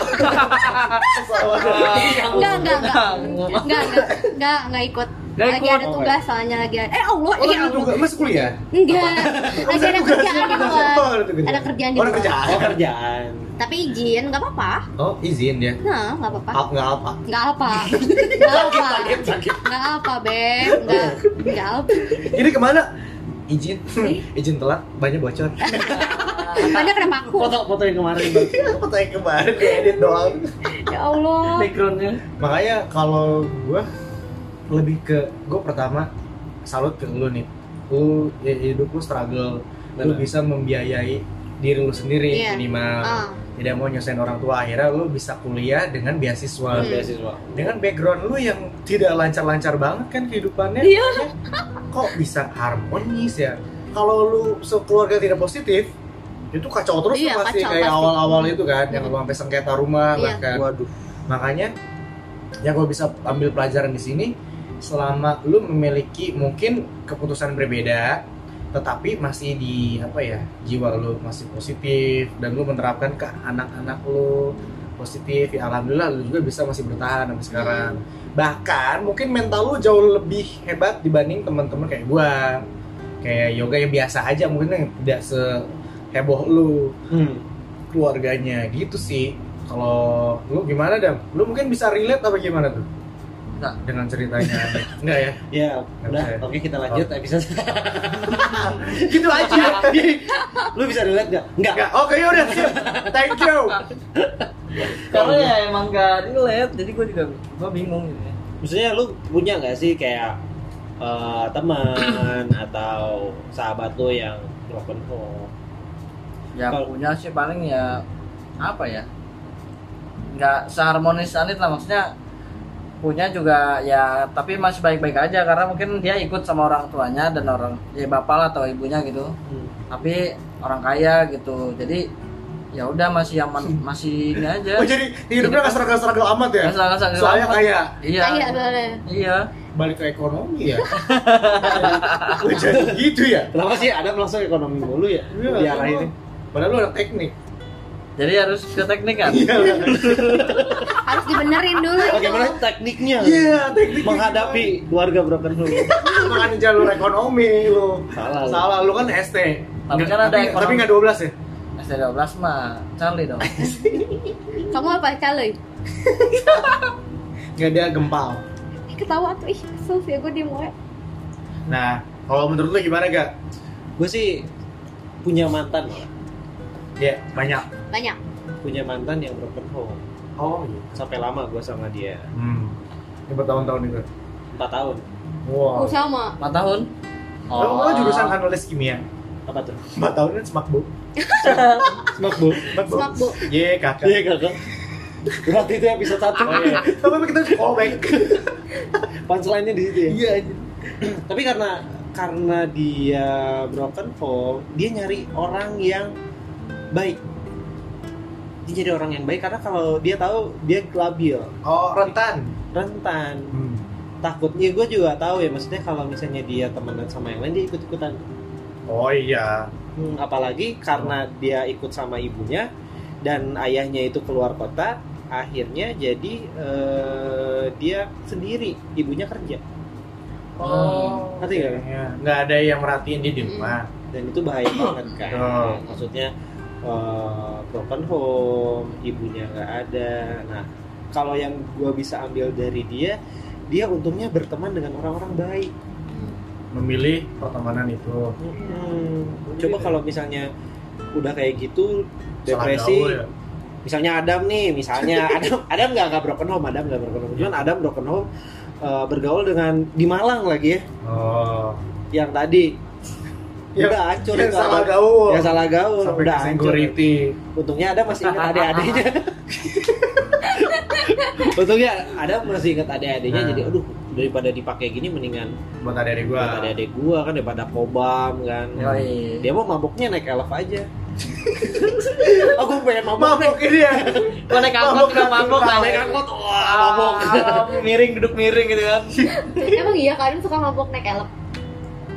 Enggak, enggak, enggak. Enggak, enggak, enggak, enggak ikut.
Enggak
Lagi
ikut.
ada tugas soalnya lagi ada. Eh, Allah,
Oh,
ya
lu
Allah.
juga mas kuliah?
Enggak. Lagi ada
Tugas,
kerjaan di
tugas.
luar.
Oh, kerjaan.
Ada kerjaan di
Oh, ada
luar.
kerjaan.
Oh, kerjaan.
Tapi izin, enggak apa-apa.
Oh, izin ya.
Nah, enggak apa-apa.
Apa enggak apa?
Enggak apa. Enggak apa. Enggak apa, Beb. Enggak. Enggak apa.
Ini kemana? Izin, izin telat, banyak bocor.
Banyak kenapa aku?
Foto-foto yang kemarin. Bang.
Foto yang kemarin di edit doang.
Ya Allah.
Backgroundnya.
Makanya kalau gua lebih ke gua pertama salut ke lu nih. Lu ya, hidup lu struggle, lu
Benar.
bisa membiayai diri lu sendiri
Iya.
minimal.
Ah,
Tidak mau nyusahin orang tua akhirnya lu bisa kuliah dengan beasiswa.
Hmm.
Beasiswa.
Dengan background lu yang tidak lancar-lancar banget kan kehidupannya.
Iya.
Kok bisa harmonis ya? Kalau lu sekeluarga tidak positif, itu kacau terus
Iya,
tuh pasti
kacau
kayak
pasti.
awal-awal itu kan yang
Hmm.
lu sampai sengketa rumah
Iya.
bahkan
Waduh.
makanya yang gue bisa ambil pelajaran di sini selama lu memiliki mungkin keputusan berbeda tetapi masih di apa ya jiwa lu masih positif dan lu menerapkan ke anak-anak lu positif ya alhamdulillah lu juga bisa masih bertahan sampai sekarang bahkan mungkin mental lu jauh lebih hebat dibanding teman-teman kayak gua kayak yoga yang biasa aja mungkin yang tidak seheboh lu
Hmm.
keluarganya gitu sih kalau lu gimana dam lu mungkin bisa relate apa gimana tuh
Enggak.
dengan ceritanya enggak ya
Ya, udah. Oke,
Oke.
Oh. kita lanjut episode.
gitu aja
Lu bisa relate nggak? Nggak.
enggak oke yaudah siap thank you
Iya. Karena ya emang gak relate, jadi gue juga gue bingung gitu ya.
Maksudnya lu punya nggak sih kayak eh, teman atau sahabat lu yang broken home?
Ya
Kalau-
punya sih paling ya apa ya? Nggak seharmonis Anit lah maksudnya punya juga ya tapi masih baik-baik aja karena mungkin dia ikut sama orang tuanya dan orang ya bapak lah atau ibunya gitu
Hmm.
tapi orang kaya gitu jadi ya udah masih aman masih ini aja
oh jadi hidupnya nggak seragam seragam amat ya
Kasar-kasar gitu
soalnya
amat.
kayak
iya
Kayak boleh.
iya
balik ke ekonomi ya Lu jadi gitu ya
Kenapa sih ada langsung ekonomi mulu
Iya,
ya? Di arah ini.
padahal lu anak teknik
jadi harus ke teknik kan
iya
Harus dibenerin dulu.
Bagaimana tekniknya
iya teknik
menghadapi keluarga broken home?
makan jalur ekonomi lu
Salah lu.
salah lu kan ST
Tapi kan ada
tapi,
ekonomi.
tapi nggak 12 ya
SD12 mah Charlie dong
Kamu apa caloy?
nggak ada gempal
Ih, Ketawa tuh ih, kesel sih gue diem gue.
Nah, kalau menurut lu gimana gak?
Gue sih punya mantan ya.
Ya, banyak.
Banyak.
Punya mantan yang broken home.
Oh iya.
Sampai lama gue sama dia.
Hmm. Ini bertahun-tahun itu.
4 tahun.
Wow.
Oh, sama.
4 tahun Oh.
Lo, lo Oh, jurusan analis kimia.
Apa tuh?
4 tahun kan semak bu.
Smak bu.
Semak bu.
Semak, Bu.
Ye, kakak.
Iya kakak. Berarti itu episode 1
Oh, iya. Tapi kita callback.
Punchline-nya di situ ya.
Iya. anjir.
Tapi karena karena dia broken home, dia nyari orang yang baik. Dia jadi orang yang baik karena kalau dia tahu dia labil,
Oh, rentan.
rentan,
Hmm.
takutnya ya, gue juga tahu ya maksudnya kalau misalnya dia temenan sama yang lain dia ikut ikutan
Oh iya.
Hmm, apalagi karena dia ikut sama ibunya dan ayahnya itu keluar kota, akhirnya jadi eh, dia sendiri, ibunya kerja
Oh,
Ngerti nggak?
iya. nggak ada yang merhatiin dia di rumah.
dan itu bahaya banget kan.
Betul.
Maksudnya eh, broken home, ibunya nggak ada. Nah, kalau yang gua bisa ambil dari dia, dia untungnya berteman dengan orang-orang baik.
Memilih pertemanan itu.
Hmm, Coba kalau misalnya udah kayak gitu
Salah
depresi
gaul ya.
misalnya Adam nih misalnya Adam Adam nggak nggak broken home Adam nggak broken home cuman Adam broken home eh, bergaul dengan di Malang lagi ya
Oh.
yang tadi
Ya,
udah hancur
Yang
itu
salah
Adam.
gaul.
yang salah gaul
Sampai ke
udah hancur
security.
untungnya Adam masih ingat adik-adiknya untungnya Adam masih ingat adik-adiknya
Nah.
jadi aduh daripada dipakai gini mendingan
Buat ada dari gua.
buat adik-adik gua kan daripada kobam kan
Yoi.
dia mau mabuknya naik elf aja aku pengen mabuk
Mabok ini ya.
Gua Oh, naik angkot juga mabok kan.
naik angkot wah mabuk miring duduk miring gitu
ya.
kan
Emang iya Karim suka mabok naik elep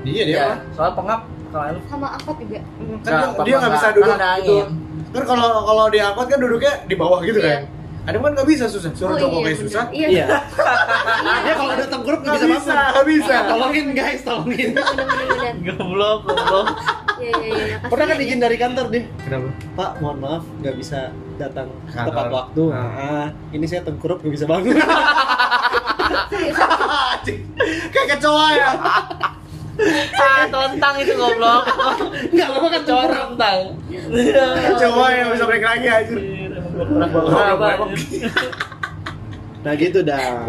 Iya dia
Iya,
mah.
soal pengap kalau elf.
sama angkot juga.
Kan dia-
Nggak,
dia nggak bisa
kan
duduk
ada
gitu.
angin.
Kan kalau kalau di angkot kan duduknya di bawah gitu
Iya.
kan. Ada kan nggak bisa susah. Suruh
Oh,
cowok
iya,
kayak
bener.
susah.
Iya.
iya dia Ya, kalau datang grup nggak
Nggak
bisa
bisa,
bangun
nggak bisa.
tolongin guys tolongin
Bener-bener.
goblok goblok
Iya iya iya. Nah,
pernah kan
kasihan
izin dari kantor deh
Kenapa?
pak mohon maaf nggak bisa datang
Kantor.
tepat waktu
Ah.
Ah, ini saya tengkurap nggak bisa bangun
Kayak kecoa ya.
Ah, tontang itu goblok.
nggak lama kan
Cowok
tengkurap
tontang. Iya.
Kecoa yang nggak bisa balik lagi anjir.
nah gitu dah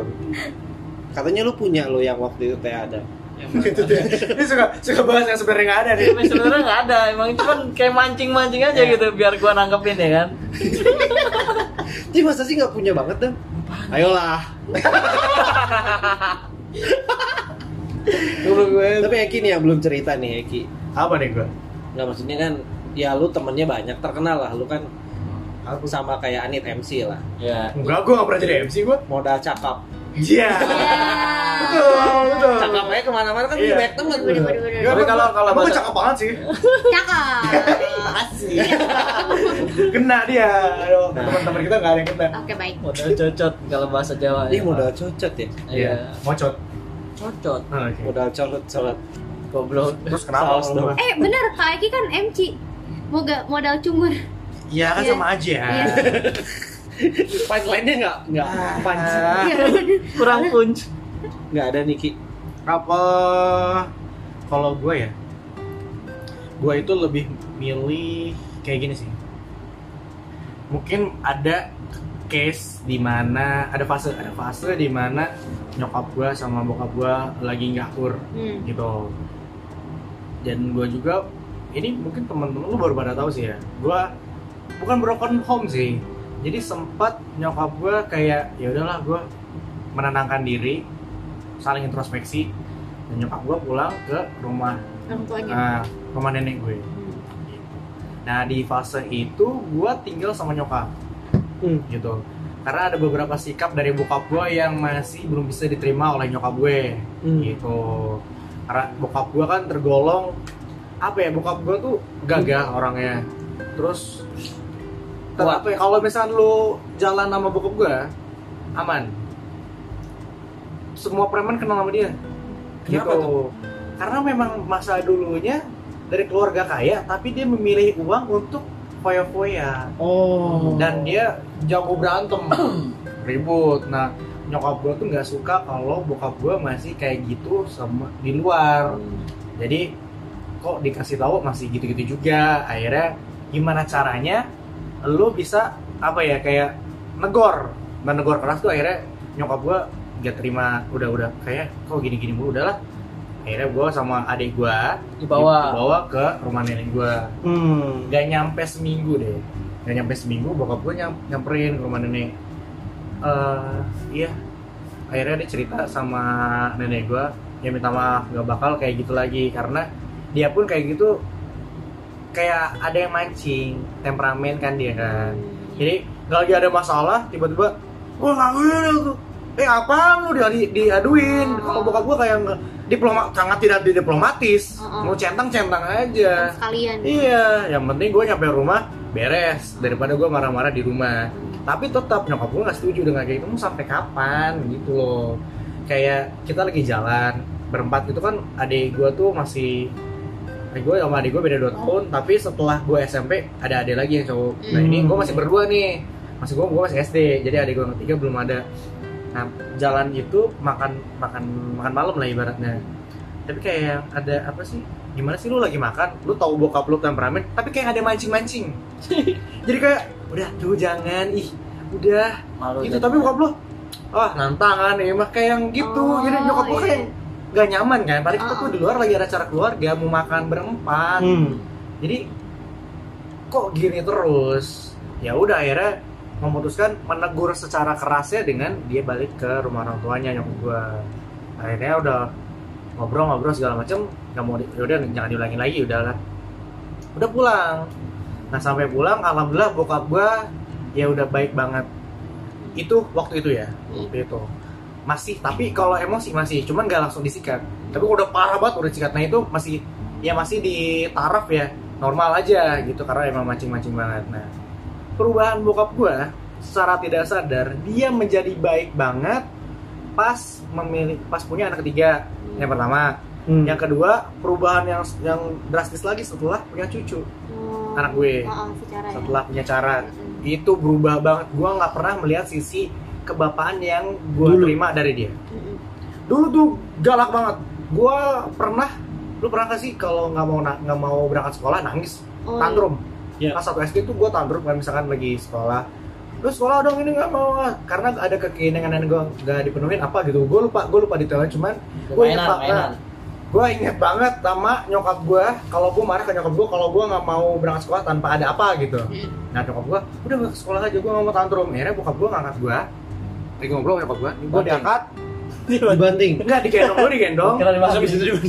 katanya lu punya lo yang waktu itu teh ada
Gitu dia. Dia suka suka bahas yang sebenarnya nggak ada deh.
Tapi sebenarnya nggak ada, emang cuman kayak mancing-mancing aja gitu biar gua nangkepin ya kan.
Ih masa sih nggak punya banget dam? Ayolah. Tapi Eki nih yang belum cerita nih Eki.
Apa deh gua?
Nggak maksudnya kan ya lu temennya banyak terkenal lah lu kan
Aku
sama kayak Anit MC lah
Ya.
Enggak, gua nggak pernah jadi MC gua.
modal cakap
Iya.
Iya.
Betul, betul.
cakap aja kemana-mana kan
Oh. Iya.
punya banyak temen
Bener, bener, bener.
Tapi kalau kalau
Emang
gua
gua
cakep banget sih.
Cakep.
Makasih. kena dia. Aduh,
Nah.
teman-teman kita nggak ada yang kena.
Oke baik.
Modal cocot kalau bahasa Jawa.
Ih modal cocot ya
Iya.
Mocot.
Cocot.
Ah, oke.
modal colot colot
Goblok.
Terus kenapa?
Saus
lu
dong.
mah?
Eh bener Kak Eki kan MC. Moga modal cungur.
Iya kan
Iya.
sama aja.
Iya.
punch lainnya nggak nggak
Ah.
punch
Iya.
Kurang punch.
nggak ada Niki
Apa kalau gua ya? Gua itu lebih milih kayak gini sih. Mungkin ada case di mana ada fase ada fase di mana nyokap gua sama bokap gua lagi nggak akur
Hmm.
gitu dan gue juga ini mungkin temen-temen lu baru pada tahu sih ya gue bukan broken home sih jadi sempat nyokap gue kayak ya udahlah gue menenangkan diri saling introspeksi dan nyokap gue pulang ke rumah
Orang tuanya.
ah, rumah nenek gue
Hmm.
nah di fase itu gue tinggal sama nyokap
Hmm.
gitu karena ada beberapa sikap dari bokap gue yang masih belum bisa diterima oleh nyokap gue gitu karena bokap gue kan tergolong apa ya bokap gue tuh gagah orangnya terus ter-
Kuat.
apa ya, kalau misalnya lu jalan sama bokap gue aman semua preman kenal sama dia
Kenapa
gitu. karena memang masa dulunya dari keluarga kaya tapi dia memilih uang untuk foya-foya
oh
dan dia jago berantem ribut nah nyokap gue tuh nggak suka kalau bokap gue masih kayak gitu sama di luar jadi kok dikasih tahu masih gitu-gitu juga akhirnya gimana caranya lo bisa apa ya kayak negor menegor keras tuh akhirnya nyokap gue gak terima udah-udah kayak kok gini-gini mulu udahlah akhirnya gue sama adik gue
Di bawah.
dibawa ke rumah nenek gue
hmm.
nggak nyampe seminggu deh nggak nyampe seminggu bokap gue nyam, nyamperin ke rumah nenek Eh, iya akhirnya dia cerita sama nenek gue ya minta maaf nggak bakal kayak gitu lagi karena dia pun kayak gitu kayak ada yang mancing temperamen kan dia kan jadi nggak lagi ada masalah tiba-tiba ya, wah ngakuin aku eh apaan lu di, di- diaduin kalau bokap gue kayak nggak diploma sangat tidak diplomatis
Heeh.
mau centang centang aja
sekalian
iya yang penting gue nyampe rumah beres daripada gue marah-marah di rumah tapi tetap nyokap gue nggak setuju dengan kayak itu mau sampai kapan gitu loh kayak kita lagi jalan berempat gitu kan adik gue tuh masih adik gue sama adik gue beda 2 tahun tapi setelah gue SMP ada adik lagi yang cowok nah ini gue masih berdua nih masih gue gue masih SD jadi adik gue yang ketiga belum ada nah jalan itu makan makan makan malam lah ibaratnya tapi kayak ada apa sih gimana sih lu lagi makan lu tahu bokap lu temperamen tapi kayak ada mancing mancing jadi kayak udah tuh jangan ih udah
malu
Oh,
itu
iya.
jadi-
tapi bokap lu ah nantangan ya mah kayak yang gitu
Oh,
jadi nyokap gua
iya.
kayak gak nyaman kan padahal kita
Oh,
tuh
oh.
di luar lagi ada acara keluarga mau makan berempat
Hmm.
jadi kok gini terus ya udah akhirnya memutuskan menegur secara kerasnya dengan dia balik ke rumah orang tuanya nyokap gua akhirnya udah ngobrol-ngobrol segala macem nggak mau di- ya udah jangan diulangi lagi udahlah udah pulang nah sampai pulang alhamdulillah bokap gua ya udah baik banget itu waktu itu ya waktu itu masih tapi kalau emosi masih cuman nggak langsung disikat tapi udah parah banget udah disikat nah itu masih ya masih di taraf ya normal aja gitu karena emang mancing-mancing banget nah perubahan bokap gua secara tidak sadar dia menjadi baik banget pas memilih pas punya anak ketiga yang pertama
Hmm.
yang kedua perubahan yang yang drastis lagi setelah punya cucu
Oh,
anak gue
oh, oh, secara ya.
setelah punya cara
Mm-mm.
itu berubah banget gua nggak pernah melihat sisi kebapaan yang gua
Dulu.
terima dari dia
Mm-mm.
dulu tuh galak banget gua pernah lu pernah gak sih kalau nggak mau na- nggak mau berangkat sekolah nangis
Oh,
tantrum
Iya.
pas satu SD tuh gua tantrum kan misalkan lagi sekolah lu sekolah dong ini nggak mau ah." karena ada keinginan yang gua nggak dipenuhin apa gitu gua lupa gua lupa detailnya cuman Gua ingat
mainan
banget.
mainan
gue inget banget sama nyokap gue kalau gue marah ke nyokap gue kalau gue nggak mau berangkat sekolah tanpa ada apa gitu nah nyokap gue udah ke sekolah aja gue nggak mau tantrum akhirnya bokap gue ngangkat gue lagi ngobrol sama nyokap gue gue
Banting.
diangkat Iya.
Dibanting.
enggak digendong gue digendong
Kira dibahas.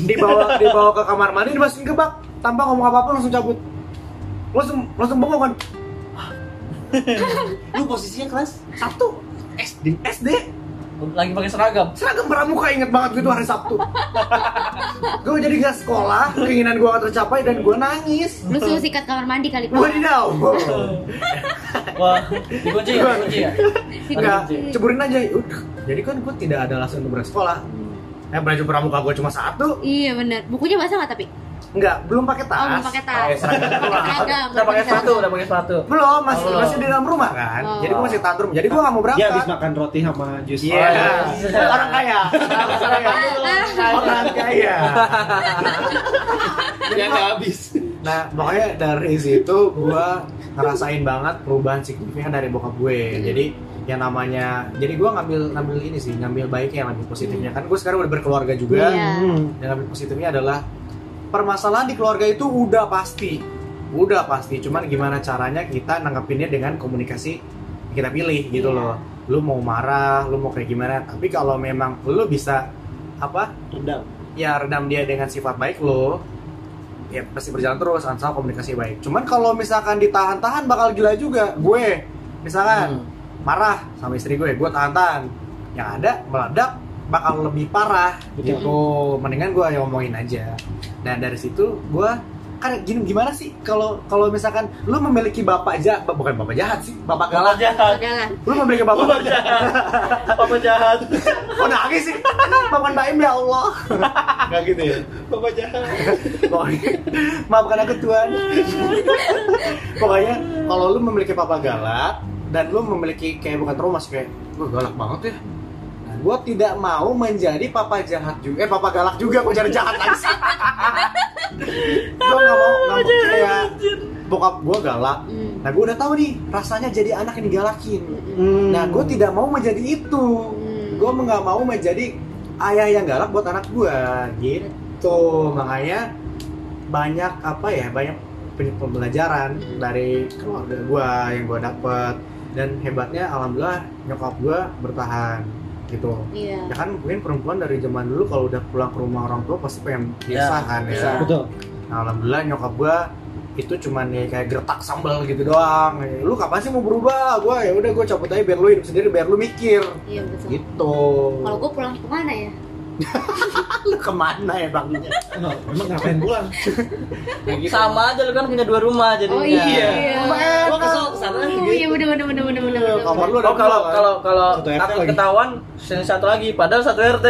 dibawa dibawa ke kamar mandi dimasukin ke bak tanpa ngomong apa apa langsung cabut langsung langsung bengong kan
Lu
Iya,
posisinya kelas
Sabtu SD SD
lagi pakai seragam
seragam pramuka inget banget gitu hari Sabtu gue jadi gak sekolah keinginan gue gak tercapai dan gue nangis
lu suruh sikat kamar mandi kali pak
Wadidaw
wah dikunci ya dikunci ya
Enggak,
Sikat.
ceburin aja Udah. Jadi kan gue tidak ada alasan untuk berangkat sekolah
Hmm.
Eh baju pramuka gue cuma satu
iya benar bukunya basah nggak tapi
Enggak, belum pakai tas
Oh, belum pakai tas.
Eh, seragam doang.
seragam
udah pakai sepatu udah pakai sepatu
Belum, masih,
Oh, belum.
masih di dalam rumah kan
Oh.
Jadi gue masih tantrum, jadi gue gak mau berangkat
dia Iya, habis makan roti sama jus. Ah.
Iya,
iya.
orang kaya Orang kaya Orang kaya
Dia nggak habis.
Nah, pokoknya dari situ gua ngerasain banget perubahan signifikan dari bokap gue. Jadi yang namanya, jadi gua ngambil ngambil ini sih, ngambil baiknya, ngambil positifnya. Kan gue sekarang udah berkeluarga juga.
Iya.
Hmm.
Dan ngambil positifnya adalah permasalahan di keluarga itu udah pasti, udah pasti. Cuman gimana caranya kita nanggepinnya dengan komunikasi yang kita pilih gitu
Iya.
loh. Lu mau marah, lu mau kayak gimana. Tapi kalau memang lu bisa apa
Redam.
ya redam dia dengan sifat baik lo ya pasti berjalan terus asal komunikasi baik cuman kalau misalkan ditahan-tahan bakal gila juga gue misalkan
Hmm.
marah sama istri gue gue tahan-tahan yang ada meledak bakal lebih parah
Betul.
gitu mendingan gue ngomongin aja dan dari situ gue kan gini gimana sih kalau kalau misalkan lu memiliki bapak jahat bukan bapak jahat sih bapak galak
jahat
udah lah
lu memiliki bapak
Bapak jahat. Bapak jahat.
kok nangis sih paman baim ya Allah nggak gitu ya
Bapak jahat.
Pokoknya, maafkan aku Tuhan pokoknya kalau lu memiliki papa galak dan lu memiliki kayak bukan trauma sih kayak gue galak banget ya nah, gue tidak mau menjadi papa jahat juga eh papa galak juga gue jadi jahat lagi gue nggak mau nggak mau kayak bokap gue galak
Mm.
nah gue udah tahu nih rasanya jadi anak yang digalakin
Hmm.
nah gue tidak mau menjadi itu
Hmm.
gue nggak mau menjadi ayah yang galak buat anak gue gitu makanya banyak apa ya banyak pe- pembelajaran dari keluarga gue yang gue dapet dan hebatnya alhamdulillah nyokap gue bertahan gitu
iya
ya kan mungkin perempuan dari zaman dulu kalau udah pulang ke rumah orang tua pasti pengen
Ya,
pisah kan ya
pisah.
Betul.
Nah, alhamdulillah nyokap gua itu cuman ya kayak gertak sambal gitu doang. Ya, Lu kapan sih mau berubah? Gua ya udah gua cabut aja biar lu hidup sendiri, biar lu mikir.
iya betul
Gitu.
kalau gue pulang kemana ya
lu kemana ya bangnya
Emang emang ngapain pulang?
sama aja lu kan punya dua rumah jadi
Oh iya.
gua kesel kesana
Oh iya bener bener bener bener bener. bener.
kamar lu ada
Oh kalau
dua, kan?
kalau kalau
Satu RT
takut
lagi.
ketahuan sini satu lagi padahal satu RT.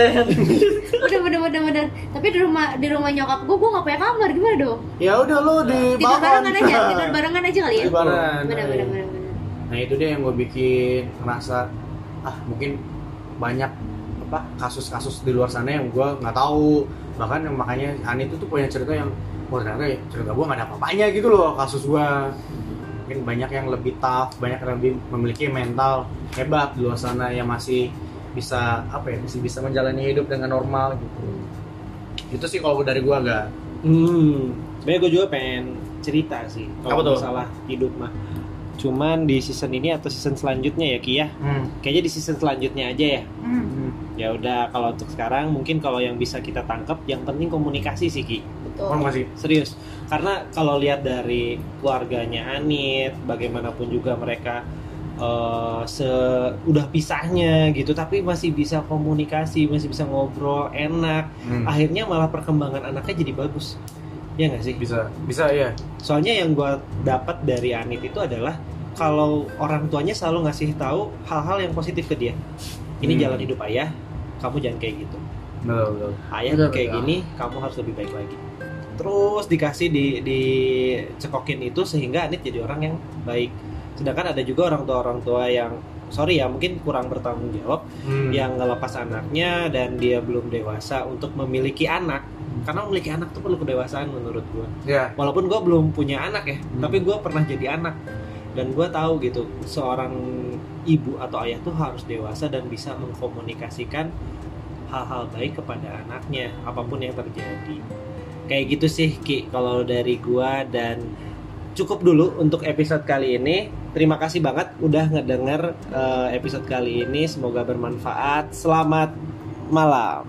Udah bener bener bener. Tapi di rumah di rumah nyokap gue gue nggak punya kamar gimana dong?
ya udah lu di
Tidur
balkon
barengan aja, tidur barengan aja kali ya.
di balkon
Bener bener bener bener.
nah itu dia yang gue bikin merasa ah mungkin banyak apa kasus-kasus di luar sana yang gue nggak tahu bahkan yang makanya Ani itu tuh punya cerita yang wah ternyata ya cerita gue nggak ada apa-apanya gitu loh kasus gue mungkin banyak yang lebih tough banyak yang lebih memiliki mental hebat di luar sana yang masih bisa apa ya masih bisa menjalani hidup dengan normal gitu itu sih kalau dari gue agak
Hmm, sebenarnya gue juga pengen cerita sih
Apa tuh?
kalau masalah hidup mah. Cuman di season ini atau season selanjutnya ya Ki ya.
hmm.
Kayaknya di season selanjutnya aja ya. Ya udah kalau untuk sekarang mungkin kalau yang bisa kita tangkap yang penting komunikasi sih Ki.
Betul.
Orang masih
Serius. Karena kalau lihat dari keluarganya Anit, bagaimanapun juga mereka eh se udah pisahnya gitu tapi masih bisa komunikasi masih bisa ngobrol enak
Ah,
akhirnya malah perkembangan anaknya jadi bagus ya nggak sih
bisa bisa ya
soalnya yang gue dapat dari Anit itu adalah kalau orang tuanya selalu ngasih tahu hal-hal yang positif ke dia ini
Hmm.
jalan hidup ayah kamu jangan kayak gitu
betul betul
ayah
Betul,
kayak
betul.
gini kamu harus lebih baik lagi terus dikasih di dicekokin itu sehingga Anit jadi orang yang baik sedangkan ada juga orang tua orang tua yang sorry ya mungkin kurang bertanggung jawab
Hmm.
Hmm.
yang ngelepas anaknya dan dia belum dewasa untuk memiliki anak
Hmm.
karena memiliki anak tuh perlu kedewasaan menurut gue
ya
walaupun gue belum punya anak ya
Hmm.
tapi gue pernah jadi anak dan gue tahu gitu seorang ibu atau ayah tuh harus dewasa dan bisa mengkomunikasikan hal-hal baik kepada anaknya apapun yang terjadi kayak gitu sih Ki kalau dari gue dan cukup dulu untuk episode kali ini terima kasih banget udah ngedenger eh, episode kali ini semoga bermanfaat selamat malam